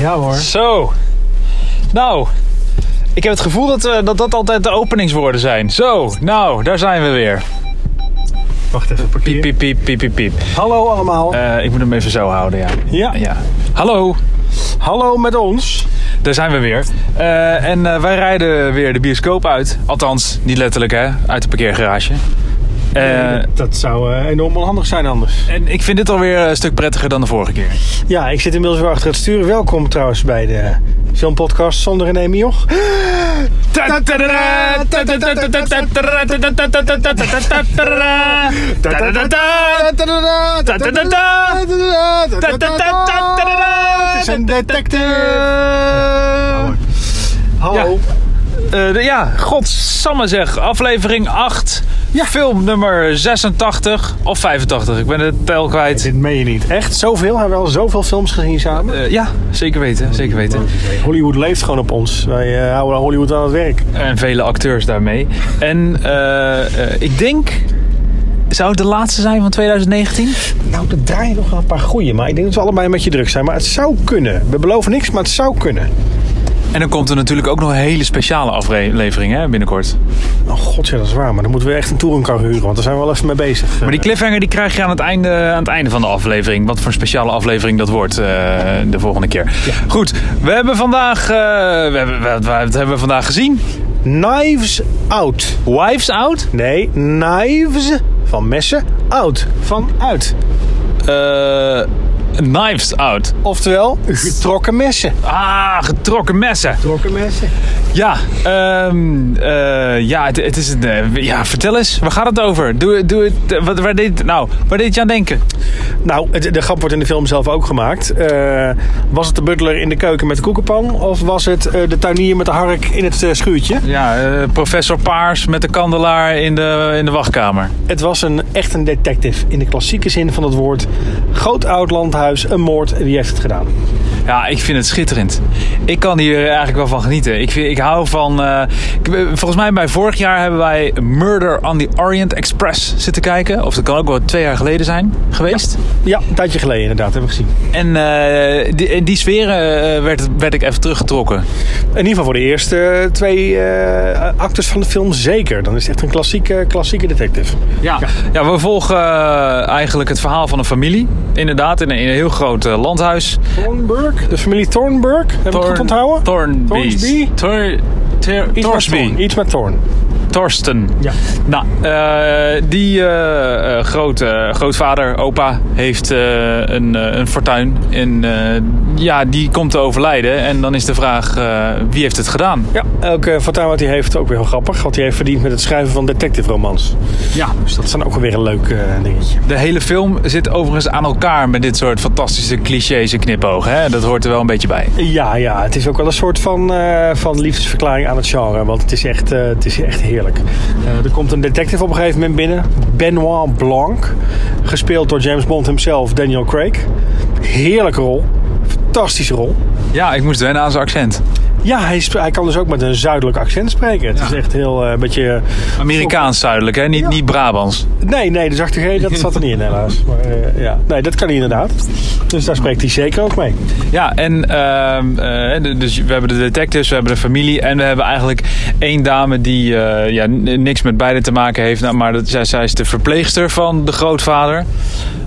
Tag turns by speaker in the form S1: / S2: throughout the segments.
S1: Ja hoor.
S2: Zo. Nou, ik heb het gevoel dat, eh, dat dat altijd de openingswoorden zijn. Zo, nou, daar zijn we weer.
S1: Wacht even,
S2: Piep,
S1: parkeer.
S2: piep, piep, piep, piep, piep.
S1: Hallo allemaal.
S2: Eh, ik moet hem even zo houden, ja.
S1: ja.
S2: ja. Hallo,
S1: hallo met ons.
S2: daar zijn we weer. Eh, en eh, wij rijden weer de bioscoop uit. Althans, niet letterlijk, hè. Uit de parkeergarage. Eh,
S1: Eh, dat zou eh, enorm onhandig zijn anders.
S2: en ik vind dit alweer een stuk prettiger dan de vorige keer.
S1: Ja, ik zit inmiddels weer achter het stuur. Welkom trouwens bij de Film Podcast zonder René Mioch.
S2: Eh,
S1: Het is een detective. Hallo.
S2: Eh, de- ja, godsamme zeg. Aflevering 8. Film nummer 86 of 85. Ik ben de tel kwijt.
S1: Dit meen je niet. Echt? Zoveel? Hebben we al zoveel films gezien samen?
S2: Eh, ja, zeker weten. Zeker weten.
S1: Hollywood leeft gewoon op ons. Wij eh, houden Hollywood aan het werk.
S2: En vele acteurs daarmee. En eh, eh, ik denk... Zou het de laatste zijn van 2019?
S1: Nou, er draaien nog wel een paar goeie, maar ik denk dat we allebei een beetje druk zijn. Maar het zou kunnen. We beloven niks, maar het zou kunnen.
S2: En dan komt er natuurlijk ook nog een hele speciale aflevering hè, binnenkort.
S1: Oh god, ja, dat is waar. Maar dan moeten we echt een touringcar huren, want daar zijn we wel even mee bezig.
S2: Maar die cliffhanger die krijg je aan het, einde, aan het einde van de aflevering. Wat voor een speciale aflevering dat wordt eh, de volgende keer. Goed, we hebben vandaag... eh, we hebben, wat, wat hebben we vandaag gezien?
S1: Knives Out.
S2: Wives Out?
S1: Nee, Knives van messen out. Van uit.
S2: Eh, knives Out.
S1: Oftewel, getrokken messen.
S2: Ah, getrokken messen.
S1: Getrokken messen.
S2: Ja, ehm, eh, ja, het, het is een... eh, ja, vertel eens, waar gaat het over? Doe, doe het, eh, wat, waar, deed, nou, waar deed je aan denken?
S1: Nou, het- de grap wordt in de film zelf ook gemaakt. Eh, was het de butler in de keuken met de koekenpan? Of was het eh, de tuinier met de hark in het eh, schuurtje?
S2: Ja, eh, professor Paars met de kandelaar in de, in de wachtkamer.
S1: Het was een, echt een detective in de klassieke zin van het woord. Groot oud landhuis, een moord, wie heeft het gedaan?
S2: Ja, ik vind het schitterend. Ik kan hier eigenlijk wel van genieten. Ik, vind, ik hou van. eh, ik- eh, volgens mij bij vorig jaar hebben wij Murder on the Orient Express zitten kijken. Of dat kan ook wel twee jaar geleden zijn geweest.
S1: Ja, een tijdje geleden inderdaad, hebben we gezien.
S2: En eh, die, in die sferen eh, werd, werd ik even teruggetrokken.
S1: In ieder geval voor de eerste twee eh, actes van de film zeker. Dan is het echt een klassieke, klassieke detective.
S2: Ja. ja, we volgen eh, eigenlijk het verhaal van een familie. Inderdaad, in een, in een heel groot eh, landhuis.
S1: Thornburg, de familie Thornburg, heb ik het goed onthouden?
S2: Thornby.
S1: Thornsby? Iets met
S2: Thorsby.
S1: Thorn, Iets met Thorn.
S2: Torsten.
S1: Ja.
S2: Nou, eh, die eh, eh, groot, eh, grootvader, opa, heeft eh, een, eh, een fortuin. En eh, ja, die komt te overlijden. En dan is de vraag, eh, wie heeft het gedaan?
S1: Ja, elke fortuin wat hij heeft ook weer heel grappig. Want hij heeft verdiend met het schrijven van detective romans.
S2: Ja.
S1: Dus dat is dan ook weer een leuk eh, dingetje.
S2: De hele film zit overigens aan elkaar met dit soort fantastische clichés en knipogen. Hè? Dat hoort er wel een beetje bij.
S1: Ja, ja, het is ook wel een soort van, eh, van liefdesverklaring aan het genre. Want het is echt, eh, het is echt heerlijk. Eh, er komt een detective op een gegeven moment binnen. Benoit Blanc. Gespeeld door James Bond himself, Daniel Craig. Heerlijke rol. Fantastische rol.
S2: Ja, ik moest wennen aan zijn accent.
S1: Ja, hij, sp- hij kan dus ook met een zuidelijk accent spreken. Het is echt heel eh, een beetje...
S2: Amerikaans duidelijk, hè? Niet, niet Brabants.
S1: Nee, nee, de zachte G, dat zat er niet in helaas. Maar eh, ja, nee, dat kan hij inderdaad. Dus daar spreekt hij zeker ook mee.
S2: Ja, en ehm, eh, de- dus we hebben de detectives, we hebben de familie en we hebben eigenlijk één dame die eh, ja, n- niks met beide te maken heeft. Nou, maar dat, zij, zij is de verpleegster van de grootvader,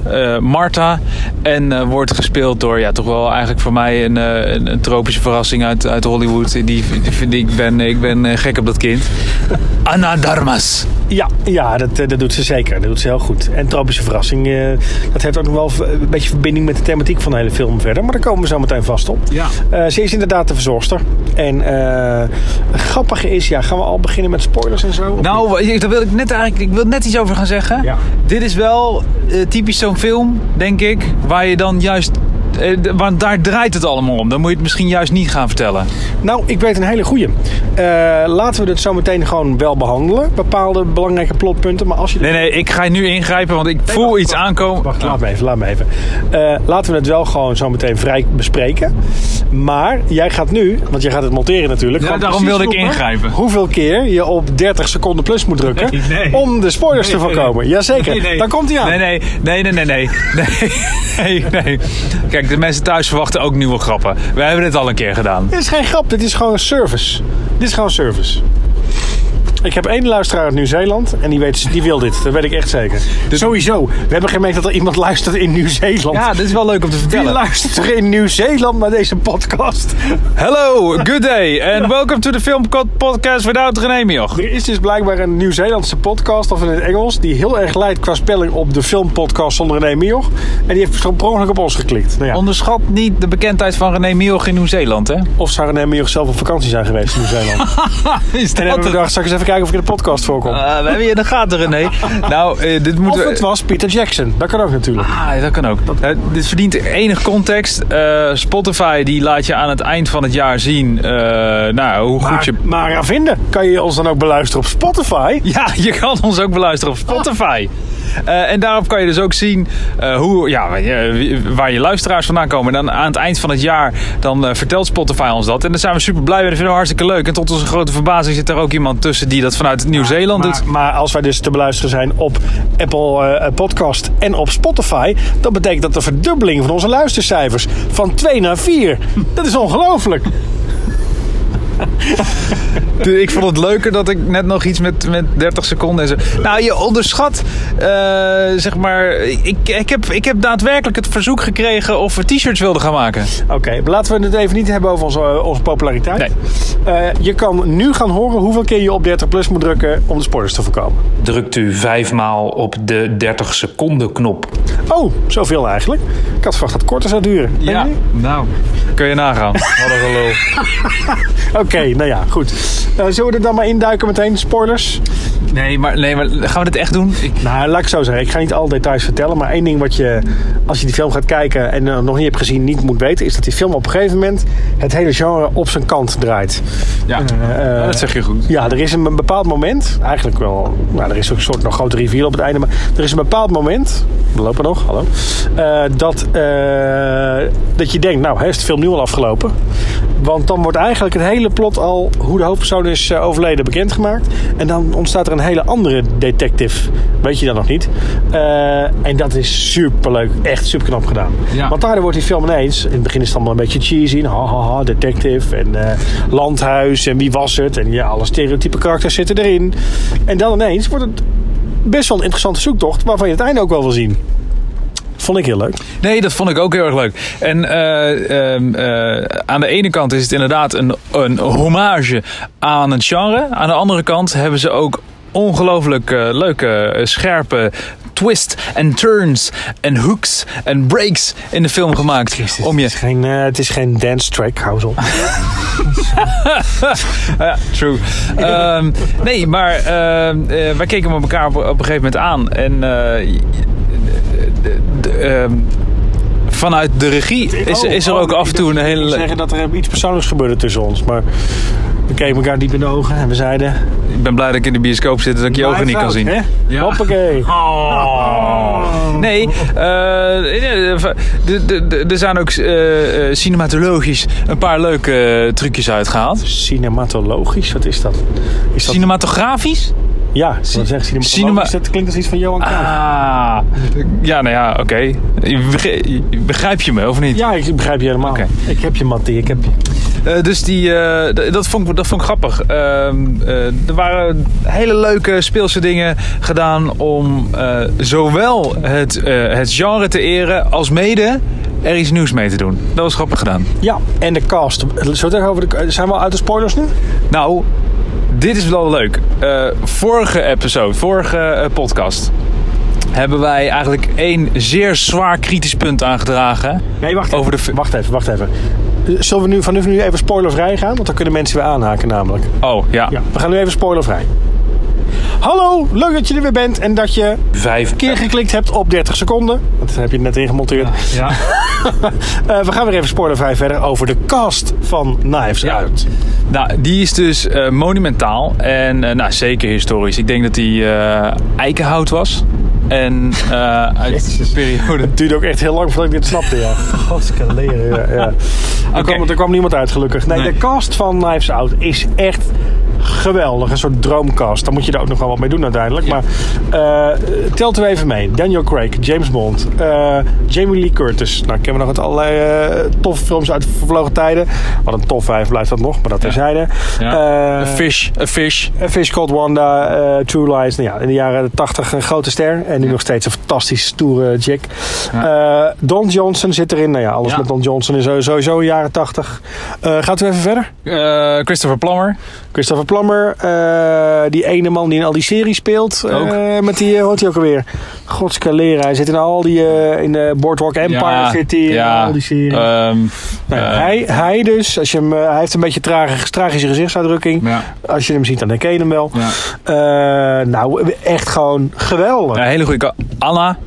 S2: eh Marta. En eh, wordt gespeeld door, ja, toch wel eigenlijk voor mij een, eh, een, een tropische verrassing uit, uit Hollywood. Die, die vind ik, ben, ik ben eh, gek op dat kind. Anna Darmas.
S1: Ja, ja dat, eh, dat doet ze zeker. Dat doet ze heel goed. En tropische verrassing, eh, dat heeft ook nog wel v- een beetje verbinding met de thematiek van de hele film verder. Maar daar komen we zo meteen vast op.
S2: Ja.
S1: Eh, ze is inderdaad de verzorgster. En eh, het grappige is, ja, gaan we al beginnen met spoilers en zo? Of niet?
S2: Nou, ik- daar wil ik net eigenlijk ik wil net iets over gaan zeggen.
S1: Ja.
S2: Dit is wel eh, typisch zo'n film, denk ik, waar je dan juist. eh, d- want daar draait het allemaal om. Dan moet je het misschien juist niet gaan vertellen.
S1: Nou, ik weet een hele goeie. Eh, laten we dit zo meteen gewoon wel behandelen. Bepaalde belangrijke plotpunten. Maar als je...
S2: Nee, nee, ik ga nu ingrijpen, want ik voel
S1: wacht,
S2: iets
S1: wacht,
S2: aankomen.
S1: Wacht, laat me even, laat me even. Eh, laten we het wel gewoon zo meteen vrij bespreken. Maar jij gaat nu, want jij gaat het monteren natuurlijk.
S2: Ja,
S1: gewoon
S2: daarom
S1: precies
S2: wilde ik
S1: roepen
S2: ingrijpen.
S1: Hoeveel keer je op 30 seconden plus moet drukken
S2: Nee, nee.
S1: om de spoilers te voorkomen. Jazeker,
S2: Nee, nee.
S1: daar komt hij aan.
S2: Nee, nee, nee, nee, nee, nee. Nee, nee. Kijk, Kijk, de mensen thuis verwachten ook nieuwe grappen. Wij hebben dit al een keer gedaan.
S1: Dit is geen grap, dit is gewoon een service. Dit is gewoon service. Ik heb één luisteraar uit Nieuw-Zeeland en die, weet, die wil dit. Dat weet ik echt zeker. Sowieso. We hebben gemerkt dat er iemand luistert in Nieuw-Zeeland.
S2: Ja, dit is wel leuk om te
S1: Wie
S2: vertellen.
S1: luistert er in Nieuw-Zeeland naar deze podcast?
S2: Hello, good day and welcome to the film podcast without René Mioch.
S1: Er is dus blijkbaar een Nieuw-Zeelandse podcast, of in het Engels, die heel erg lijkt qua spelling op de filmpodcast zonder René Mioch. En die heeft gewoon per ongeluk op ons geklikt. Nou ja,
S2: Onderschat niet de bekendheid van René Mioch in Nieuw-Zeeland, hè?
S1: of zou René Mioch zelf op vakantie zijn geweest in Nieuw-Zeeland? en
S2: Is
S1: dan hebben we gedacht, zal ik eens even kijken of ik in de podcast voorkom.
S2: Ah, we hebben je in de gaten, René. nou, eh, dit moet...
S1: Of het was Peter Jackson. Dat kan ook natuurlijk.
S2: Ah, dat kan ook. Eh, dit verdient enig context. Eh, Spotify die laat je aan het eind van het jaar zien eh, nou, hoe goed
S1: Maar,
S2: je...
S1: maar aan vinden kan je ons dan ook beluisteren op Spotify.
S2: Ja, je kan ons ook beluisteren op Spotify. Eh, en daarop kan je dus ook zien eh, hoe, ja, eh, wie- waar je luisteraars vandaan komen. En dan aan het eind van het jaar dan eh, vertelt Spotify ons dat. En daar zijn we super blij mee. Dat vinden we hartstikke leuk. En tot onze grote verbazing zit er ook iemand tussen die dat vanuit Nieuw-Zeeland doet.
S1: Maar, maar als wij dus te beluisteren zijn op Apple eh, Podcast en op Spotify, dan betekent dat de verdubbeling van onze luistercijfers van 2 naar 4. Dat is ongelooflijk.
S2: Ik vond het leuker dat ik net nog iets met, met 30 seconden en zo. Nou, je onderschat, eh, zeg maar. Ik, ik, heb, ik heb daadwerkelijk het verzoek gekregen of we t-shirts wilden gaan maken.
S1: Oké, maar laten we het even niet hebben over onze, eh, onze populariteit.
S2: Nee.
S1: Eh, je kan nu gaan horen hoeveel keer je op 30 plus moet drukken om de spoilers te voorkomen.
S3: drukt u vijfmaal op de 30 seconden knop.
S1: Oh, zoveel eigenlijk. Ik had verwacht dat het korter zou duren. Denk je?
S2: nou. Kun je nagaan. Wat een gelul.
S1: Oké, nou ja, goed. Eh, zullen we er dan maar induiken meteen, spoilers?
S2: Nee maar, nee, maar gaan we dit echt doen? Ik-
S1: Nou, laat ik zo zeggen. Ik ga niet alle details vertellen. Maar één ding wat je, als je die film gaat kijken en eh, nog niet hebt gezien, niet moet weten, is dat die film op een gegeven moment het hele genre op zijn kant draait.
S2: ja,
S1: Eh, eh,
S2: dat zeg je goed.
S1: ja, er is een bepaald moment, eigenlijk wel, nou, er is ook een soort nog grote rivier op het einde, maar er is een bepaald moment, we lopen nog, hallo, eh, dat, eh, dat je denkt, nou, heeft de film nu al afgelopen? Want dan wordt eigenlijk het hele plot al, hoe de hoofdpersoon is eh, overleden, bekendgemaakt. En dan ontstaat er een hele andere detective. Weet je dat nog niet? Eh, en dat is superleuk. Echt superknap gedaan.
S2: Ja.
S1: Want daardoor wordt die film ineens... In het begin is het allemaal een beetje cheesy. en Ha, ha, ha, detective. En eh, landhuis. En wie was het? En ja, alle stereotype karakters zitten erin. En dan ineens wordt het best wel een interessante zoektocht... waarvan je het einde ook wel wil zien. Vond ik heel leuk.
S2: Nee, dat vond ik ook heel erg leuk. En eh, ehm, eh, aan de ene kant is het inderdaad een, een hommage aan het genre. Aan de andere kant hebben ze ook ongelooflijk eh, leuke, eh, scherpe twists en turns en hooks en breaks in de film gemaakt. om je...
S1: Het is geen, eh, het is geen dance track, hou eens op.
S2: ja, true. Ehm, nee, maar ehm, eh, wij keken met elkaar op, op een gegeven moment aan. En eh, je- de- de- ehm, vanuit de regie is,
S1: Oh,
S2: is er
S1: oh,
S2: ook
S1: ik
S2: af en toe een
S1: dacht, ik
S2: hele...
S1: wil zeggen dat er iets persoonlijks gebeurde tussen ons. Maar we keken elkaar diep in de ogen en we zeiden...
S2: Ik ben blij dat ik in de bioscoop zit en dat ik je ogen niet kan zien. Oh.
S1: Ja. Hoppakee.
S2: Nee, eh, eh, de- de- de- er zijn ook eh, eh, cinematologisch een paar leuke eh, trucjes uitgehaald.
S1: Cinematologisch, wat is dat? Is dat
S2: Cinematografisch?
S1: ja, wat zeggen cinematologisch?
S2: cinema-
S1: dat klinkt als iets van Johan Cruijff.
S2: Ah, ja, nou ja, oké. Je begre- Begrijp je me, of niet?
S1: Ja, ik begrijp je helemaal.
S2: Oké.
S1: Ik heb je, Mattie. Ik heb je.
S2: Eh, dus die, eh, d- dat, vond ik, dat vond ik grappig. Ehm, eh, er waren hele leuke speelse dingen gedaan om eh, zowel het, eh, het genre te eren als mede er iets nieuws mee te doen. Dat was grappig gedaan.
S1: Ja, en de cast. Zullen we het even over de, zijn we al uit de spoilers nu?
S2: Nou, dit is wel leuk. Eh, vorige episode, vorige eh, podcast, hebben wij eigenlijk één zeer zwaar kritisch punt aangedragen.
S1: Nee, wacht even.
S2: Over de fi-
S1: wacht even, wacht even. Zullen we nu vanaf nu even spoilervrij gaan? Want dan kunnen mensen weer aanhaken namelijk.
S2: Oh, ja.
S1: Ja, we gaan nu even spoilervrij. Hallo, leuk dat je er weer bent en dat je
S3: Vijf
S1: keer geklikt hebt op 30 seconden. Dat heb je net ingemonteerd.
S2: ja.
S1: Eh, we gaan weer even spoilervrij verder over de cast van Knives
S2: Ja.
S1: Out.
S2: Nou, die is dus eh, monumentaal en eh, nou, zeker historisch. Ik denk dat die eh, eikenhout was. En eh, uit de periode...
S1: Het duurde ook echt heel lang voordat ik dit snapte, ja. Godske leren, ja. ja. Er, kwam, er kwam niemand uit, gelukkig. Nee,
S2: Nee.
S1: de cast van Knives Out is echt geweldig. Een soort droomcast. Dan moet je daar ook nog wel wat mee doen uiteindelijk. Maar eh telt u even mee. Daniel Craig, James Bond, eh, Jamie Lee Curtis. Nou, kennen we nog uit allerlei eh, toffe films uit vervlogen tijden. Wat een tof vijf blijft dat nog, maar dat terzijde.
S2: Ja.
S1: Eh,
S2: a fish, a fish.
S1: A Fish Called Wanda, eh, True Lies. Nou ja, in de jaren 80 een grote ster. En nu nog steeds een fantastisch stoere Jack. Eh, Don Johnson zit erin. Nou ja, alles
S2: Ja.
S1: met Don Johnson is sowieso jaren 80. Eh, gaat u even verder?
S2: Eh, Christopher Plummer.
S1: Christopher Plummer. eh, die ene man die in al die series speelt. eh, met die, eh, hoort hij ook alweer? Godskalera. Hij zit in al die, eh, in eh, Boardwalk Empire
S2: Ja,
S1: zit hij. in
S2: ja,
S1: al die series.
S2: ehm,
S1: Nou ja,
S2: eh,
S1: hij, hij dus, als je hem, eh, hij heeft een beetje trage, tragische gezichtsuitdrukking.
S2: ja,
S1: Als je hem ziet, dan herken je hem wel.
S2: ja.
S1: Eh, nou, echt gewoon geweldig.
S2: Ja, hele goede ka- Anna.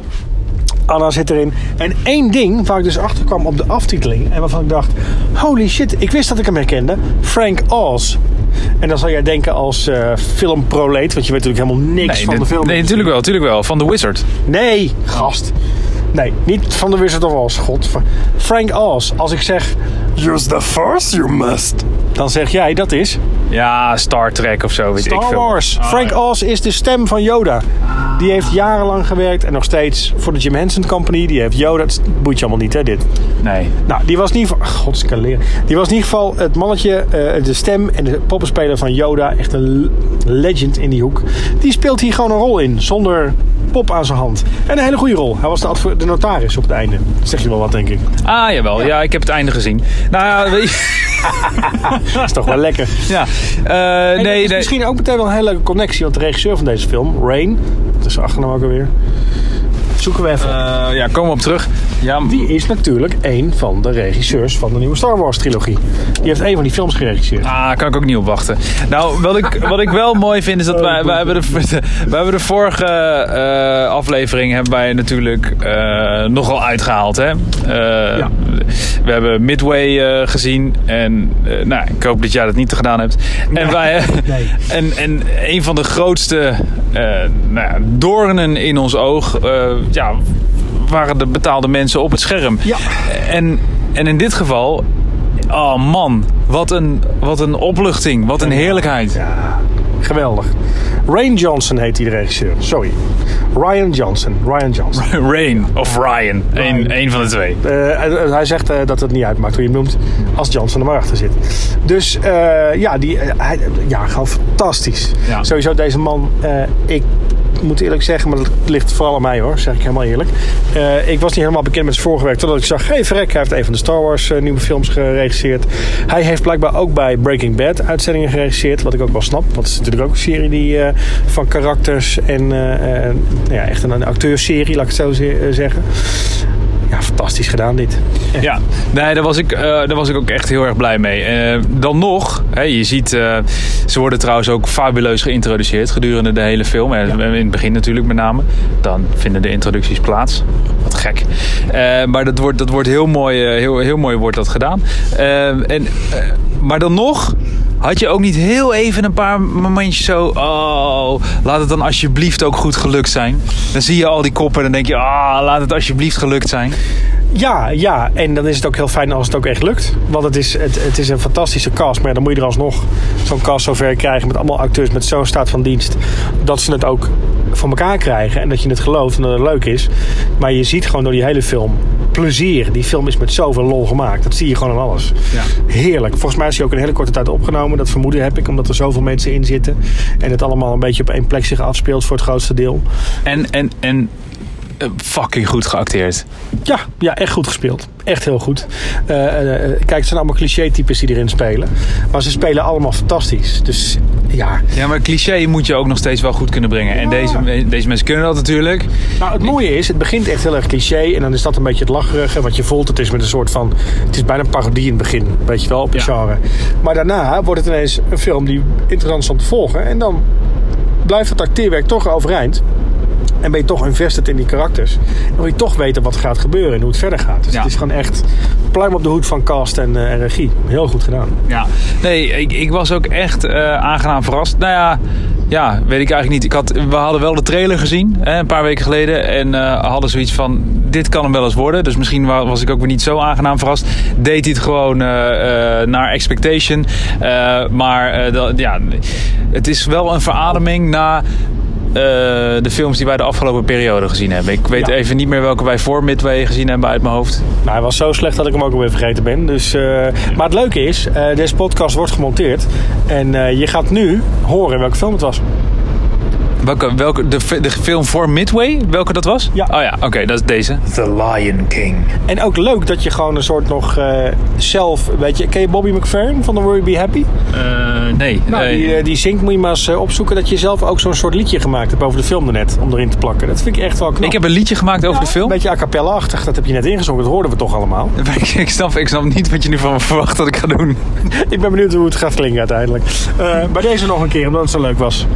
S1: Anna zit erin. En één ding waar ik dus achter kwam op de aftiteling. En waarvan ik dacht: holy shit, ik wist dat ik hem herkende. Frank Oz. En dan zal jij denken als eh filmproleet, want je weet natuurlijk helemaal niks van
S2: dit-
S1: de film.
S2: nee, natuurlijk wel, natuurlijk wel. Van The Wizard.
S1: Nee, gast. Nee, niet van de Wizard of Oz. God. Frank Oz. Als ik zeg: Use the force you must. Dan zeg jij dat is
S2: Ja, Star Trek of zo, weet ik
S1: Star
S2: veel.
S1: Wars.
S2: Ah,
S1: Frank
S2: ja.
S1: Oz is de stem van Yoda. Die heeft jarenlang gewerkt en nog steeds voor de Jim Henson Company. Die heeft Yoda. Het boeit je allemaal niet, hè, dit.
S2: Nee.
S1: Nou, die was in ieder geval... Godskaleer. Die was in ieder geval het mannetje, eh, de stem en de poppenspeler van Yoda. Echt een le- legend in die hoek. Die speelt hier gewoon een rol in, zonder pop aan zijn hand. En een hele goede rol. Hij was de, advo- de notaris op het einde. Zeg je wel wat, denk ik.
S2: Ah, jawel. Ja, ik heb het einde gezien. Nou ja, weet je-
S1: Dat is toch wel lekker.
S2: ja. Eh,
S1: En dat
S2: nee,
S1: is
S2: nee.
S1: misschien ook meteen wel een hele leuke connectie. Want de regisseur van deze film, Rain... Dat is de achternaam ook alweer. Zoeken we even.
S2: Eh, ja, komen we op terug. Ja, m-
S1: die is natuurlijk een van de regisseurs van de nieuwe Star Wars trilogie. Die heeft een van die films geregisseerd.
S2: Ah, kan ik ook niet op wachten. Nou, wat ik, wat ik wel mooi vind is dat wij, wij, hebben, de, wij hebben de vorige eh, aflevering hebben wij natuurlijk eh, nogal uitgehaald. Hè? Eh,
S1: Ja.
S2: We hebben Midway eh, gezien en eh, nou, ik hoop dat jij dat niet gedaan hebt. En, wij,
S1: Nee.
S2: en, en een van de grootste eh nou ja, doornen in ons oog eh, ja, waren de betaalde mensen op het scherm.
S1: Ja.
S2: En, en in dit geval, oh man, wat een, wat een opluchting, wat een heerlijkheid.
S1: Geweldig. Rain Johnson heet die de regisseur. Sorry. Ryan Johnson. Ryan Johnson.
S2: Rain of Ryan, Eén, één van de twee.
S1: Eh, en, eh, hij zegt eh, dat het niet uitmaakt hoe je hem noemt. Als Johnson er maar achter zit. Dus eh, ja, die, eh, hij, ja, gewoon fantastisch.
S2: Ja.
S1: Sowieso deze man. eh, ik moet eerlijk zeggen, maar dat ligt vooral aan mij hoor. Zeg ik helemaal eerlijk. Eh, ik was niet helemaal bekend met zijn vorige werk. Totdat ik zag, hey verrek, hij heeft een van de Star Wars eh, nieuwe films geregisseerd. Hij heeft blijkbaar ook bij Breaking Bad uitzendingen geregisseerd. Wat ik ook wel snap. Want het is natuurlijk ook een serie die eh, van karakters en eh, eh, ja, echt een, een acteurserie, laat ik het zo ze- eh, zeggen. Ja, fantastisch gedaan dit.
S2: Ja, nee, daar was, ik, eh, daar was ik ook echt heel erg blij mee. Eh, dan nog, hè, je ziet, eh, ze worden trouwens ook fabuleus geïntroduceerd gedurende de hele film. En In het begin natuurlijk met name. Dan vinden de introducties plaats. Wat gek. Eh, maar dat wordt, dat wordt heel, mooi, eh, heel, heel mooi wordt dat gedaan. Eh, en, eh, maar dan nog... Had je ook niet heel even een paar momentjes zo... Oh, laat het dan alsjeblieft ook goed gelukt zijn. Dan zie je al die koppen en dan denk je... Ah, laat het alsjeblieft gelukt zijn.
S1: Ja, ja. En dan is het ook heel fijn als het ook echt lukt. Want het is, het, het is een fantastische cast. Maar ja, dan moet je er alsnog zo'n cast zover krijgen. Met allemaal acteurs met zo'n staat van dienst. Dat ze het ook voor elkaar krijgen. En dat je het gelooft en dat het leuk is. Maar je ziet gewoon door die hele film plezier. Die film is met zoveel lol gemaakt. Dat zie je gewoon aan alles. Heerlijk. Volgens mij is hij ook in een hele korte tijd opgenomen. Dat vermoeden heb ik. Omdat er zoveel mensen in zitten. En het allemaal een beetje op één plek zich afspeelt voor het grootste deel.
S2: En, en, en eh, fucking goed geacteerd.
S1: Ja, ja, echt goed gespeeld. Echt heel goed. Eh, eh, eh, kijk, het zijn allemaal cliché-types die erin spelen. Maar ze spelen allemaal fantastisch. Dus ja.
S2: Ja, maar cliché moet je ook nog steeds wel goed kunnen brengen. En deze, deze mensen kunnen dat natuurlijk.
S1: Nou, het mooie is, het begint echt heel erg cliché. En dan is dat een beetje het lacherige. Wat je voelt, het is met een soort van... Het is bijna een parodie in het begin. Weet je wel, op het
S2: Ja.
S1: genre. Maar daarna wordt het ineens een film die interessant is om te volgen. En dan blijft het acteerwerk toch overeind. En ben je toch invested in die karakters. Dan wil je toch weten wat er gaat gebeuren en hoe het verder gaat. Dus
S2: Ja.
S1: het is gewoon echt pluim op de hoed van cast en, eh, en regie. Heel goed gedaan.
S2: Ja, nee, ik, ik was ook echt eh, aangenaam verrast. Nou ja, ja, weet ik eigenlijk niet. Ik had, we hadden wel de trailer gezien, hè, een paar weken geleden. En eh, hadden zoiets van, dit kan hem wel eens worden. Dus misschien wa- was ik ook weer niet zo aangenaam verrast. Deed hij het gewoon eh, eh, naar expectation. Eh, maar eh, dat, ja, het is wel een verademing na... eh, de films die wij de afgelopen periode gezien hebben. Ik weet
S1: Ja.
S2: even niet meer welke wij voor Midway gezien hebben uit mijn hoofd.
S1: Nou, hij was zo slecht dat ik hem ook alweer vergeten ben. Dus, eh, maar het leuke is, eh, deze podcast wordt gemonteerd. En eh, je gaat nu horen welke film het was.
S2: Welke, welke, de, fi- de film voor Midway, welke dat was?
S1: Ja.
S2: Oh ja, oké, dat is deze.
S3: The Lion King.
S1: En ook leuk dat je gewoon een soort nog eh, zelf... Weet je, ken je Bobby McFerrin van The Worry Be Happy?
S2: nee.
S1: Nou, die, eh, die zingt moet je maar eens eh, opzoeken... dat je zelf ook zo'n soort liedje gemaakt hebt over de film daarnet. Om erin te plakken. Dat vind ik echt wel knap.
S2: ik heb een liedje gemaakt over de film.
S1: Een beetje a cappella-achtig. Dat heb je net ingezongen. Dat hoorden we toch allemaal.
S2: Ik, ik, snap, ik snap niet wat je nu van me verwacht dat ik ga doen.
S1: ik ben benieuwd hoe het gaat klinken uiteindelijk. Eh, bij deze nog een keer, omdat het zo leuk was.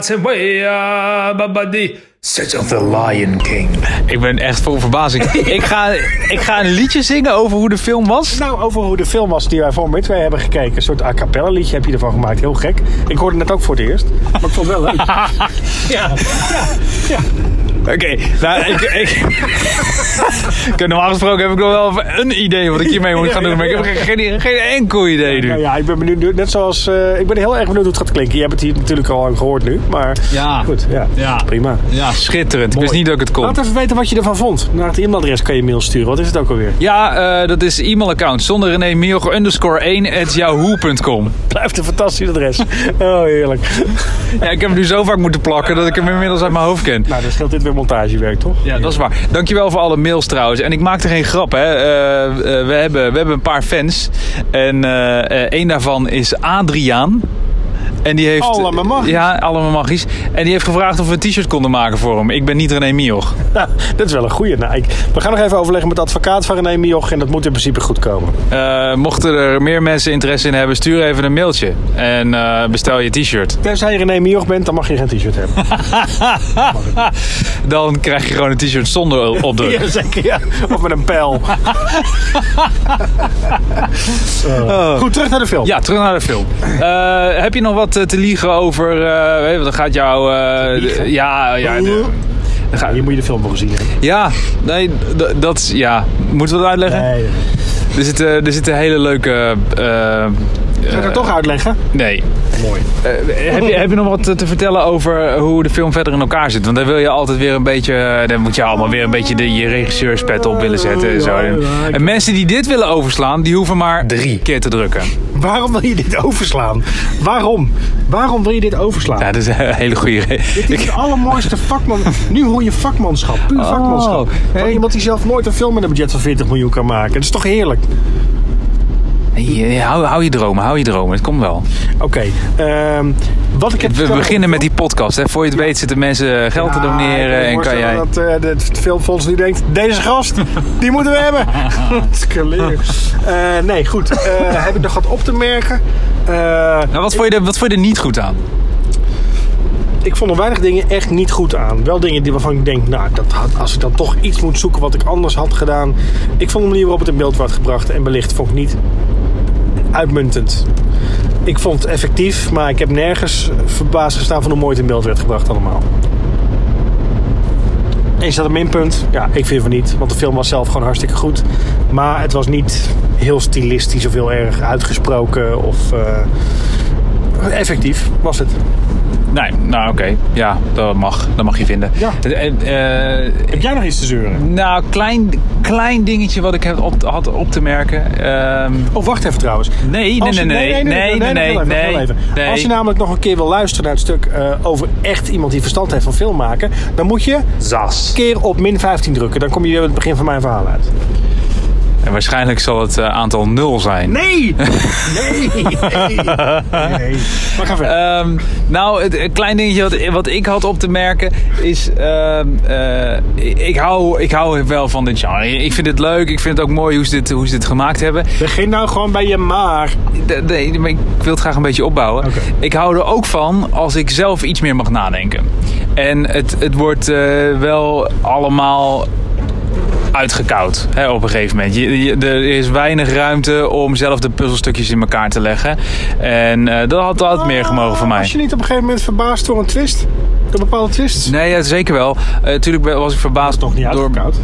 S3: The Lion King.
S2: Ik ben echt vol verbazing. ik, ga, ik ga een liedje zingen over hoe de film was.
S1: Nou, over hoe de film was die wij voor Midway hebben gekeken. Een soort a cappella liedje heb je ervan gemaakt. Heel gek. Ik hoorde het net ook voor het eerst. Maar ik vond het wel leuk.
S2: Oké, nou, ik... ik Ik heb normaal gesproken heb ik nog wel even een idee wat ik hiermee moet gaan doen. Maar ik heb geen, geen, geen enkel idee
S1: Nou
S2: nu.
S1: ja, ik ben benieuwd. Net zoals... eh, ik ben heel erg benieuwd hoe het gaat klinken. Je hebt het hier natuurlijk al lang gehoord nu. Maar
S2: Ja.
S1: goed, ja.
S2: Ja.
S1: Prima.
S2: Ja, schitterend. Ik wist
S1: Mooi.
S2: niet dat ik het kon.
S1: Laat even weten wat je ervan vond. Naar het e-mailadres kan je mail sturen. Wat is het ook alweer?
S2: Ja, eh, dat is e-mailaccount zonder René Mioch underscore 1 at yahoo.com.
S1: Blijft een fantastisch adres. Oh, heerlijk.
S2: Ja, ik heb hem nu zo vaak moeten plakken dat ik hem inmiddels uit mijn hoofd ken.
S1: Nou, dan scheelt dit weer montagewerk, toch?
S2: Ja, dat is waar. Dankjewel voor alle mails trouwens. En ik maakte geen grap, hè. Eh, eh, we, hebben, we hebben een paar fans. En eh één daarvan is Adriaan. En die heeft...
S1: Allemaal magisch.
S2: Ja, allemaal magisch. En die heeft gevraagd of we een t-shirt konden maken voor hem. Ik ben niet René Mioch.
S1: Nou, dat is wel een goeie. Nou, ik, we gaan nog even overleggen met de advocaat van René Mioch. En dat moet in principe goed komen.
S2: Eh, mochten er meer mensen interesse in hebben, stuur even een mailtje. En eh, bestel je t-shirt.
S1: Tenzij je René Mioch bent, dan mag je geen t-shirt hebben.
S2: Dan krijg je gewoon een t-shirt zonder opdruk.
S1: Ja, zeker, ja. Of met een pijl. Eh, Goed, terug naar de film.
S2: Ja, terug naar de film. Eh, heb je nog wat eh, te liegen over... eh, weet je, dan gaat jouw... eh, de- ja, ja, de- dan ga-
S1: Hier moet je de film nog gezien hebben.
S2: ja, nee, d- dat is... Ja, moeten we dat uitleggen? Er zitten, er zitten hele leuke... eh, eh,
S1: Ga ik het toch uitleggen?
S2: nee.
S1: Mooi.
S2: Eh, heb, je, heb je nog wat eh, te- te vertellen over hoe de film verder in elkaar zit? Want dan wil je altijd weer een beetje... eh, Dan moet je allemaal weer een beetje de, je regisseurspet op willen zetten en zo. En, en mensen die dit willen overslaan, die hoeven maar...
S3: Drie.
S2: keer te drukken.
S1: Waarom wil je dit overslaan? Waarom? Waarom wil je dit overslaan?
S2: Ja, dat is een hele goede... re-
S1: Dit is het allermooiste vakman. Nu hoor je vakmanschap. Puur vakmanschap. Van
S2: hey.
S1: iemand die zelf nooit een film met een budget van 40 miljoen kan maken. Dat is toch heerlijk?
S2: Je- eh, hou, hou je dromen, hou je dromen. Het komt wel.
S1: Oké. ehm, wat ik heb
S2: We beginnen met die podcast. Hè. Voor je het weet zitten mensen eh, geld te
S1: Ja,
S2: doneren.
S1: ik
S2: En kan jij...
S1: voorstellen Dat eh, het filmfonds nu denkt, deze gast, die moeten we hebben. Het is kaleer. Eh, nee, goed. Eh, heb ik nog wat op te merken? Eh,
S2: Nou, wat, vond je er, wat vond je er niet goed aan?
S1: ik vond er weinig dingen echt niet goed aan. Wel dingen die, waarvan ik denk, nou, dat had, als ik dan toch iets moet zoeken wat ik anders had gedaan. Ik vond de manier waarop het in beeld werd gebracht en belicht vond ik niet uitmuntend. Ik vond het effectief, maar ik heb nergens verbaasd gestaan van hoe mooi het in beeld werd gebracht allemaal. En is dat een minpunt? Ja, ik vind van niet. Want de film was zelf gewoon hartstikke goed. Maar het was niet heel stilistisch of heel erg uitgesproken of... eh, effectief was het.
S2: Nee, nou oké. Ja, dat mag. Dat mag je vinden.
S1: Ja.
S2: Eh, eh,
S1: Heb jij nog iets te zeuren?
S2: nou, klein, klein dingetje wat ik heb op, had op te merken. Ehm,
S1: Oh, wacht even trouwens.
S2: nee, nee,
S1: Als
S2: nee,
S1: je-
S2: nee, nee, nee,
S1: nee,
S2: nee,
S1: nog heel even, nog heel even.
S2: nee.
S1: Als je nou- namelijk nog een keer wil luisteren naar het stuk eh, over echt iemand die verstand heeft van film maken, dan moet je
S3: Zas.
S1: keer op min 15 drukken. Dan kom je weer bij het begin van mijn verhaal uit.
S2: En waarschijnlijk zal het eh, aantal nul zijn.
S1: Nee! Nee! Nee! nee. Maar ga verder.
S2: Ehm, nou, het, een klein dingetje wat, wat ik had op te merken is... ehm, eh, ik, hou, ik hou wel van dit genre. Ik vind het leuk. Ik vind het ook mooi hoe ze dit, hoe ze dit gemaakt hebben.
S1: Begin nou gewoon bij je maar.
S2: D- Nee, maar ik wil het graag een beetje opbouwen.
S1: Oké.
S2: Ik hou er ook van als ik zelf iets meer mag nadenken. En het, het wordt eh, wel allemaal uitgekoud hè, op een gegeven moment. Je, je- er is weinig ruimte om zelf de puzzelstukjes in elkaar te leggen. En eh, dat had altijd meer gemogen voor mij.
S1: Was Ah, je niet op een gegeven moment verbaasd door een twist? Door bepaalde twists?
S2: Nee, ja, zeker wel. Natuurlijk was ik verbaasd
S1: Toch niet
S2: door,
S1: uitgekoud?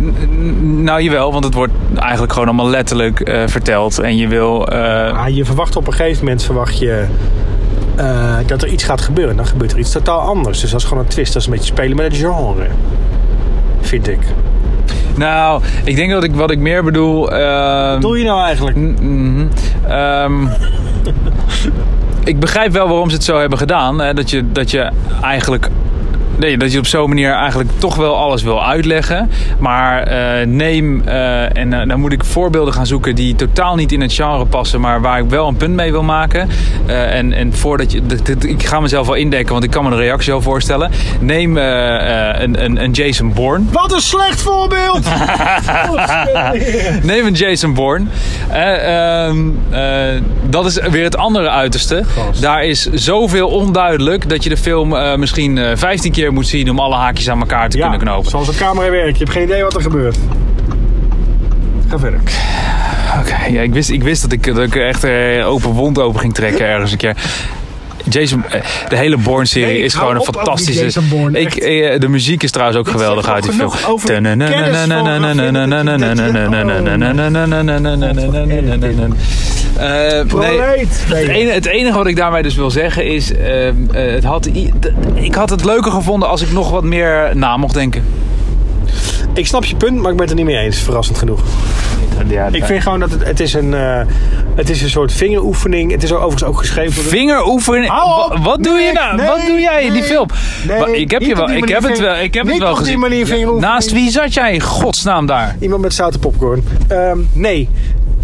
S2: N- n- Nou jawel, want het wordt eigenlijk gewoon allemaal letterlijk eh, verteld. En je wil. eh,
S1: Ah, je verwacht op een gegeven moment verwacht je, eh, dat er iets gaat gebeuren. Dan gebeurt er iets totaal anders. Dus dat is gewoon een twist. Dat is een beetje spelen met het genre. Vind ik.
S2: nou, ik denk dat ik wat ik meer bedoel. ehm,
S1: Wat doe je nou eigenlijk?
S2: Mm, mhm. Ehm, ik begrijp wel waarom ze het zo hebben gedaan. Hè? Dat, je, dat je eigenlijk. Nee, dat je op zo'n manier eigenlijk toch wel alles wil uitleggen. Maar eh, neem, eh, en eh, dan moet ik voorbeelden gaan zoeken die totaal niet in het genre passen, maar waar ik wel een punt mee wil maken. Eh, en, en voordat je, dit- dit- ik ga mezelf wel indekken, want ik kan me de reactie al voorstellen. Neem eh, eh, een, een, een Jason Bourne.
S1: Wat een slecht voorbeeld!
S2: Neem een Jason Bourne. Eh, ehm, eh, dat is weer het andere uiterste.
S1: Gast.
S2: Daar is zoveel onduidelijk dat je de film eh, misschien eh 15 keer moet zien om alle haakjes aan elkaar te kunnen knopen.
S1: zoals een camera werkt. Je hebt geen idee wat er gebeurt. Ga verder.
S2: Oké, ja, ik, wist, ik wist dat ik, dat ik echt eh, open wond open ging trekken ergens een keer. Jason, eh, de hele Bourne-serie
S1: Nee, ik
S2: is
S1: hou
S2: gewoon
S1: op
S2: een
S1: over die
S2: fantastische.
S1: Jason Bourne,
S2: ik,
S1: echt.
S2: eh, de muziek is trouwens ook geweldig
S1: zegt
S2: uit die
S1: al
S2: film.
S1: genoeg over de kennis van
S2: Eh, nee.
S1: Proleet!
S2: Het enige, het enige wat ik daarmee dus wil zeggen is, ehm, eh, het had, i- d- ik had het leuker gevonden als ik nog wat meer na mocht denken.
S1: Ik snap je punt, maar ik ben het er niet mee eens. Verrassend genoeg. Ik vind gewoon dat het, het, is, een, eh, het is een soort vingeroefening. Het is overigens ook geschreven door de-
S2: Vingeroefening.
S1: Hou op!
S2: Wa- Wat doe je
S1: Nee,
S2: nou?
S1: nee,
S2: wat doe jij in die
S1: nee,
S2: film?
S1: nee,
S2: Wa- ik heb,
S1: niet
S2: je
S1: op
S2: wel,
S1: die
S2: ik
S1: manier
S2: heb het wel,
S1: ving-
S2: ik heb het
S1: niet
S2: wel
S1: op die
S2: gezien.
S1: manier vingeroefening.
S2: Naast wie zat jij in godsnaam daar?
S1: Iemand met zouten popcorn. Ehm, nee,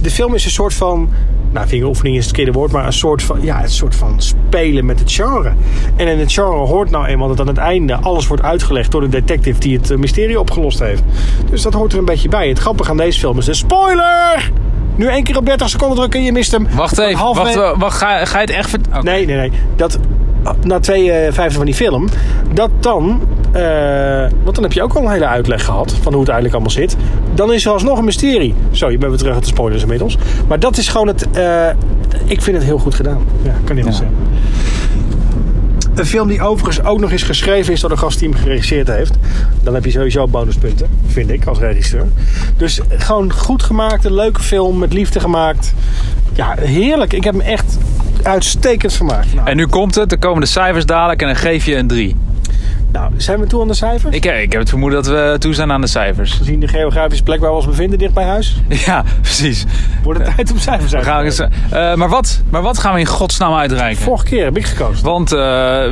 S1: de film is een soort van. Nou, vingeroefening is het verkeerde woord, maar een soort van. Ja, een soort van spelen met het genre. En in het genre hoort nou eenmaal dat aan het einde alles wordt uitgelegd door de detective die het eh, mysterie opgelost heeft. Dus dat hoort er een beetje bij. Het grappige aan deze film is de spoiler! Nu één keer op 30 seconden drukken en je mist hem.
S2: Wacht
S1: Dan
S2: even,
S1: halfweg-
S2: wacht, wa- wacht, ga, ga je het echt... vert- Oké.
S1: Nee, nee, nee. Dat na 52 van die film, dat dan. eh, want dan heb je ook al een hele uitleg gehad van hoe het eigenlijk allemaal zit. Dan is er alsnog een mysterie. Zo, je bent weer terug uit de spoilers inmiddels. Maar dat is gewoon het. eh, ik vind het heel goed gedaan. Ja, kan niet anders
S2: Ja.
S1: zeggen. Een film die overigens ook nog eens geschreven is door de gast die hem geregisseerd heeft. Dan heb je sowieso bonuspunten, vind ik, als regisseur. Dus gewoon goed gemaakt, een leuke film, met liefde gemaakt. Ja, heerlijk. Ik heb hem echt uitstekend vermaakt. Nou,
S2: En nu komt het, er komen de cijfers dadelijk en dan geef je een 3.
S1: nou, zijn we toe aan de cijfers?
S2: Ik, eh, ik heb het vermoeden dat we toe zijn aan de cijfers.
S1: Gezien de geografische plek waar we ons bevinden, dicht bij huis,
S2: Ja, precies.
S1: wordt het tijd om cijfers uit
S2: We
S1: te
S2: gaan eens,
S1: geven.
S2: eh, maar, wat, maar wat gaan we in godsnaam uitreiken?
S1: Vorige keer heb ik gekozen.
S2: Want eh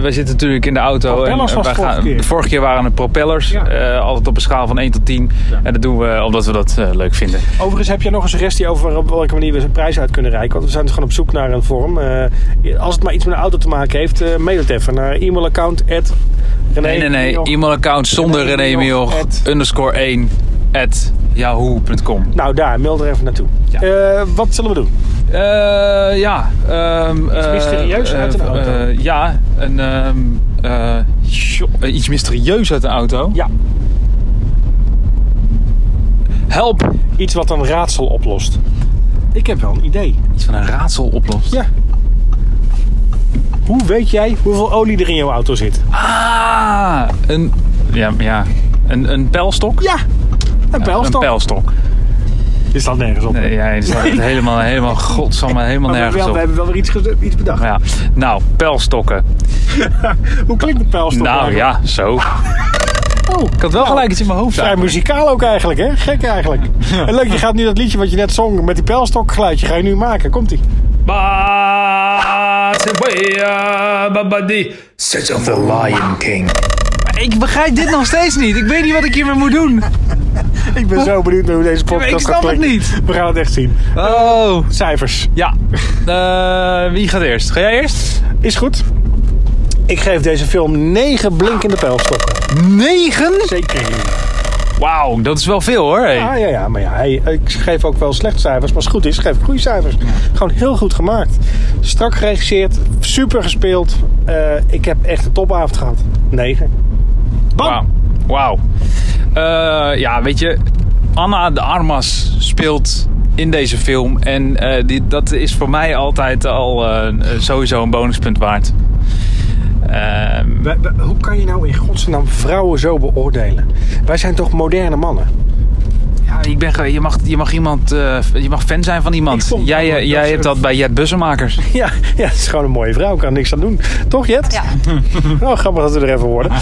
S2: wij zitten natuurlijk in de auto.
S1: Propellers
S2: en,
S1: was
S2: wij
S1: vorige
S2: gaan,
S1: keer.
S2: De vorige keer waren het propellers.
S1: Ja.
S2: eh, altijd op een schaal van 1 tot 10.
S1: Ja.
S2: En dat doen we omdat we dat eh, leuk vinden.
S1: Overigens heb jij nog een suggestie over op welke manier we zijn prijs uit kunnen reiken. Want we zijn dus gewoon op zoek naar een vorm. Eh, als het maar iets met een auto te maken heeft, eh, mail het even naar e-mailaccount at René
S2: Nee, nee, nee.
S1: Mioch.
S2: E-mailaccount zonder
S1: René
S2: René
S1: Mioch,
S2: Mioch.
S1: at-
S2: Underscore 1. At yahoo.com.
S1: Nou, daar, mail er even naartoe.
S2: Ja.
S1: Eh, wat zullen we doen?
S2: Eh, ja. ehm, eh,
S1: mysterieus uit een
S2: eh,
S1: auto.
S2: eh, ja. Een, ehm, eh, jo- eh, iets mysterieus uit een auto.
S1: Ja,
S2: Help!
S1: iets wat een raadsel oplost. Ik heb wel een idee.
S2: Iets van een raadsel oplost.
S1: Ja. Hoe weet jij hoeveel olie er in jouw auto zit?
S2: Ah! Een... Ja, ja. Een, een pijlstok?
S1: Ja, een pijlstok.
S2: Een pijlstok.
S1: Dit staat nergens op.
S2: Nee, ja, het staat helemaal, helemaal, godsamme, helemaal
S1: Maar we, hebben wel,
S2: nergens
S1: we
S2: op.
S1: hebben wel weer iets, gez- iets bedacht.
S2: Ja. Nou, pijlstokken.
S1: Hoe klinkt een pijlstok
S2: Nou
S1: eigenlijk?
S2: ja, zo. Ik
S1: Oh,
S2: had wel gelijk iets in mijn hoofd.
S1: Vrij
S2: eigenlijk.
S1: muzikaal ook eigenlijk, hè? Gek eigenlijk. En leuk, je gaat nu dat liedje wat je net zong met die pijlstokgeluidje ga je nu maken. Komt-ie.
S2: eh, Ba- Sequoia, babadi.
S3: The Lion King.
S2: ik begrijp dit nog steeds niet. Ik weet niet wat ik hiermee moet doen.
S1: Ik ben zo benieuwd naar hoe deze podcast
S2: Ja, maar ik
S1: gaat
S2: snap het
S1: klinken.
S2: niet.
S1: We gaan het echt zien.
S2: Oh.
S1: Cijfers.
S2: Ja. Eh, wie gaat eerst? Ga jij eerst?
S1: Is goed. Ik geef deze film 9 blinkende pijlstokken.
S2: 9?
S1: Zeker.
S2: Wauw, dat is wel veel hoor. Hey.
S1: Ah, Ja, ja, ja, maar ja, hey, ik geef ook wel slechte cijfers. Maar als het goed is, geef ik goede cijfers. Gewoon heel goed gemaakt. Strak geregisseerd, super gespeeld. Eh, ik heb echt een topavond gehad. 9. Bam!
S2: Wauw. Wauw. Eh, ja, weet je, Anna de Armas speelt in deze film. En eh, die, dat is voor mij altijd al eh, sowieso een bonuspunt waard. Ehm,
S1: Wij- wij- hoe kan je nou in godsnaam vrouwen zo beoordelen? Wij zijn toch moderne mannen?
S2: ja, ik ben, ge- je, mag, je, mag iemand, eh, je mag fan zijn van
S1: Ik
S2: iemand.
S1: vond-
S2: Jij, eh,
S1: dat
S2: jij
S1: is-
S2: hebt dat bij Jet Bussenmakers.
S1: Ja, ja, het is gewoon een mooie vrouw. Ik kan er niks aan doen. Toch, Jet?
S4: Ja.
S1: Oh, grappig dat we er even worden.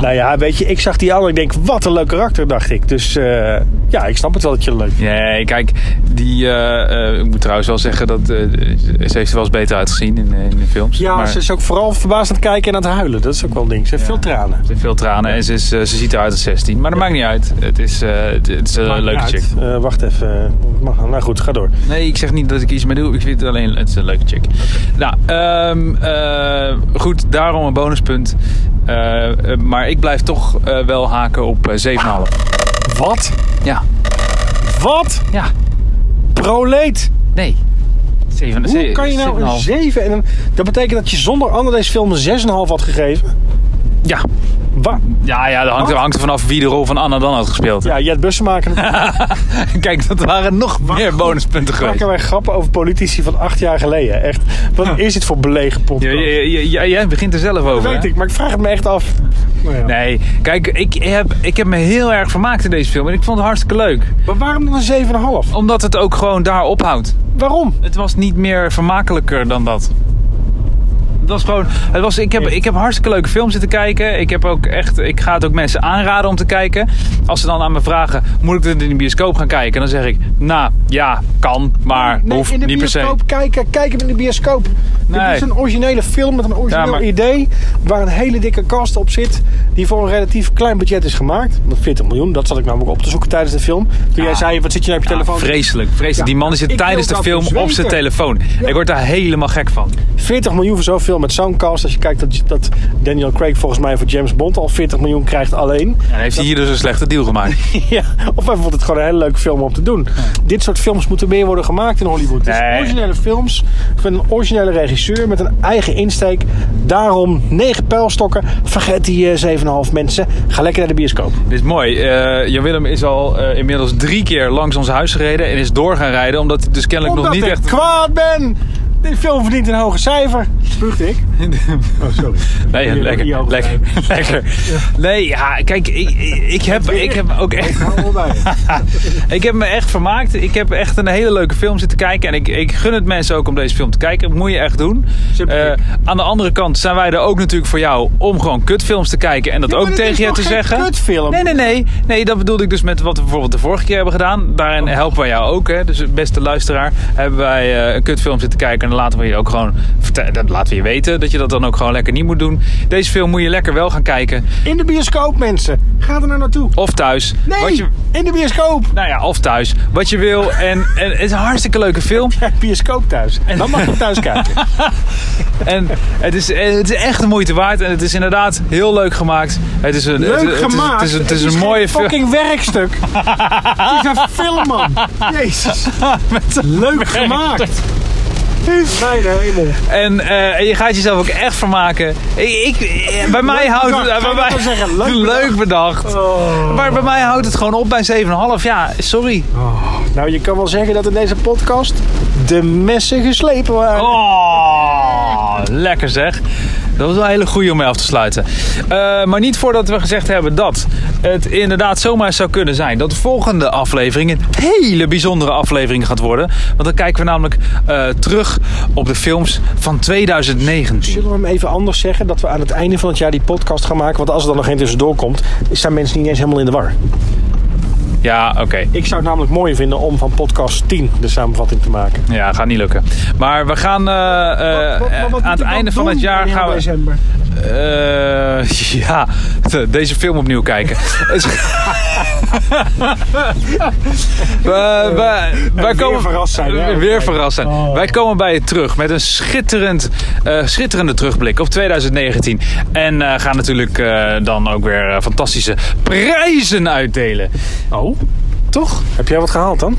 S1: nou ja, weet je, ik zag die aan en ik denk, wat een leuk karakter, dacht ik. Dus eh, ja, ik snap het wel dat je het leuk vindt.
S2: Nee, kijk, die, eh, eh, ik moet trouwens wel zeggen dat eh, ze heeft er wel eens beter uitgezien in, eh, in de films.
S1: Ja,
S2: Maar-
S1: ze is ook vooral verbaasd aan het kijken en aan het huilen. Dat is ook wel een ding. Ze heeft veel tranen.
S2: Ze heeft veel tranen en ze, is, eh, ze ziet eruit als 16. Maar dat maakt niet uit. Het is, eh, het, het is een leuke chick.
S1: Eh, wacht even. Mag, nou goed, ga door.
S2: Nee, ik zeg niet dat ik iets mee doe. Ik vind het alleen het is een leuke chick. Nou, ehm, eh, goed, daarom een bonuspunt. Eh, eh, maar ik blijf toch eh, wel haken op eh, 7,5.
S1: Wat?
S2: Ja,
S1: Wat?
S2: ja,
S1: Proleet!
S2: nee. 7,
S1: Hoe kan je nou een 7 en een... Dat betekent dat je zonder ander deze film een 6,5 had gegeven?
S2: Ja,
S1: Wat?
S2: ja, ja dat hangt,
S1: Wat?
S2: hangt er vanaf wie de rol van Anna dan had gespeeld.
S1: Ja, Jet Bussen maken.
S2: Kijk, dat waren nog meer bonuspunten geweest.
S1: maken wij grappen over politici van acht jaar geleden. Echt, wat is dit voor belegen
S2: Ja,
S1: podcast?
S2: ja, ja, ja, jij begint er zelf over.
S1: Dat weet
S2: hè?
S1: ik, maar ik vraag het me echt af. Nou ja.
S2: Nee, kijk, ik heb, ik heb me heel erg vermaakt in deze film. En ik vond het hartstikke leuk.
S1: Maar waarom dan een 7,5?
S2: Omdat het ook gewoon daar ophoudt.
S1: Waarom?
S2: Het was niet meer vermakelijker dan dat. Het was gewoon, het was, ik, heb, ik heb hartstikke leuke film zitten kijken. Ik, heb ook echt, ik ga het ook mensen aanraden om te kijken. Als ze dan aan me vragen, moet ik dit in de bioscoop gaan kijken? Dan zeg ik, nou ja, kan, maar
S1: Nee,
S2: hoeft
S1: in de
S2: niet per se.
S1: bioscoop kijken. Kijk hem in de bioscoop. Dit
S2: Nee.
S1: is een originele film met een origineel
S2: Ja, maar-
S1: idee. Waar een hele dikke cast op zit. Die voor een relatief klein budget is gemaakt. 40 miljoen, dat zat ik namelijk op te zoeken tijdens de film. Toen jij
S2: Ah.
S1: zei, wat zit je nou op je
S2: Ja,
S1: telefoon?
S2: vreselijk, vreselijk.
S1: Ja,
S2: die man
S1: nou,
S2: die zit
S1: ik
S2: tijdens de
S1: wil
S2: film
S1: dat dus
S2: op zijn
S1: weten.
S2: telefoon. Ik word daar helemaal gek van.
S1: 40 miljoen voor zoveel met zo'n cast. Als je kijkt dat, dat Daniel Craig volgens mij voor James Bond al 40 miljoen krijgt alleen.
S2: En heeft hij hier dus een slechte deal gemaakt.
S1: Ja, of hij vond het gewoon een hele leuke film om te doen. Dit soort films moeten meer worden gemaakt in Hollywood. Het
S2: Nee.
S1: is originele films van een originele regisseur met een eigen insteek. Daarom negen pijlstokken. Vergeet die eh, 7,5 mensen. Ga lekker naar de bioscoop.
S2: Dit is mooi. Eh Jan Willem is al eh, inmiddels drie keer langs ons huis gereden en is door gaan rijden, omdat hij dus kennelijk
S1: Omdat
S2: nog
S1: ik
S2: niet echt.
S1: kwaad ben. Dit film verdient een hoger cijfer. Spuugt ik? Oh, sorry.
S2: Nee,
S1: Hier, hier
S2: lekker,
S1: hoger
S2: lekker, lekker. Nee, ja, kijk, ik, ik- ik, heb, ik heb ook echt,
S1: cijfer. Hou wel bij.
S2: ik heb me echt vermaakt. Ik heb echt een hele leuke film zitten kijken en ik, ik gun het mensen ook om deze film te kijken. Dat moet je echt doen.
S1: Sympathiek.
S2: Eh, aan de andere kant zijn wij er ook natuurlijk voor jou om gewoon kutfilms te kijken en dat
S1: Ja, maar
S2: ook
S1: dit is
S2: tegen je
S1: toch
S2: te
S1: geen
S2: zeggen.
S1: kutfilm?
S2: Nee, nee, nee. Nee, dat bedoelde ik dus met wat we bijvoorbeeld de vorige keer hebben gedaan. Daarin
S1: Oh.
S2: helpen wij jou ook. Hè. Dus beste luisteraar, hebben wij eh, een kutfilm zitten kijken. En dan laten we je ook gewoon vertellen. Dat laten we je weten. Dat je dat dan ook gewoon lekker niet moet doen. Deze film moet je lekker wel gaan kijken.
S1: In de bioscoop, mensen. Ga er nou naartoe.
S2: Of thuis. Wat
S1: Nee,
S2: je,
S1: in de bioscoop.
S2: nou ja, of thuis. Wat je wil. En, en het is een hartstikke leuke film.
S1: Bioscoop thuis. Dan mag je thuis kijken.
S2: En het is, het is echt de moeite waard. En het is inderdaad heel leuk gemaakt. Het is een, het,
S1: Leuk
S2: het is-
S1: gemaakt.
S2: Het is, het is een
S1: geen
S2: mooie film.
S1: fucking werkstuk. het is een film, man. Jezus. Leuk gemaakt. Mijn hemel.
S2: En eh, en je gaat jezelf ook echt vermaken. Ik, ik, eh, bij mij houdt
S1: bedacht.
S2: het.
S1: Ga
S2: bij
S1: je
S2: mij,
S1: dat nou zeggen? Leuk
S2: bedacht. Maar bij mij houdt het gewoon op bij 7,5. Ja, sorry.
S1: Nou, je kan wel zeggen dat in deze podcast de messen geslepen waren.
S2: Oh, lekker zeg. Dat was wel een hele goede om mee af te sluiten. Eh, maar niet voordat we gezegd hebben dat het inderdaad zomaar zou kunnen zijn dat de volgende aflevering een hele bijzondere aflevering gaat worden. Want dan kijken we namelijk eh, terug op de films van 2019.
S1: Zullen we hem even anders zeggen? Dat we aan het einde van het jaar die podcast gaan maken. Want als er dan nog geen tussendoor komt, staan mensen niet eens helemaal in de war.
S2: Ja, oké.
S1: Ik zou het namelijk mooier vinden om van podcast 10 de samenvatting te maken.
S2: Ja, gaat niet lukken. Maar we gaan eh, eh, aan het einde van het jaar gaan we.
S1: december.
S2: Eh, ja, deze film opnieuw kijken. we, we, wij
S1: weer
S2: komen,
S1: verrast zijn, Oh. hè?
S2: Weer verrast zijn. Wij komen bij je terug met een schitterend, eh, schitterende terugblik op 2019. En eh, gaan natuurlijk eh, dan ook weer eh, fantastische prijzen uitdelen.
S1: Oh, toch? Heb jij wat gehaald dan?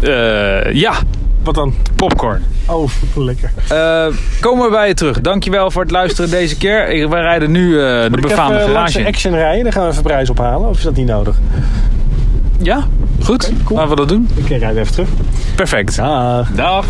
S2: Eh, ja,
S1: Wat dan?
S2: popcorn.
S1: Oh, lekker.
S2: Eh, komen we bij je terug. Dankjewel voor het luisteren deze keer. Ik- Wij rijden nu eh, de
S1: Ik heb
S2: befaamde
S1: eh, langs
S2: garage.
S1: de
S2: in.
S1: action rijden, dan gaan we even prijs ophalen. Of is dat niet nodig?
S2: Ja, goed. Laten we dat doen.
S1: Ik eh, rijd even terug.
S2: Perfect.
S1: Ah.
S2: Dag.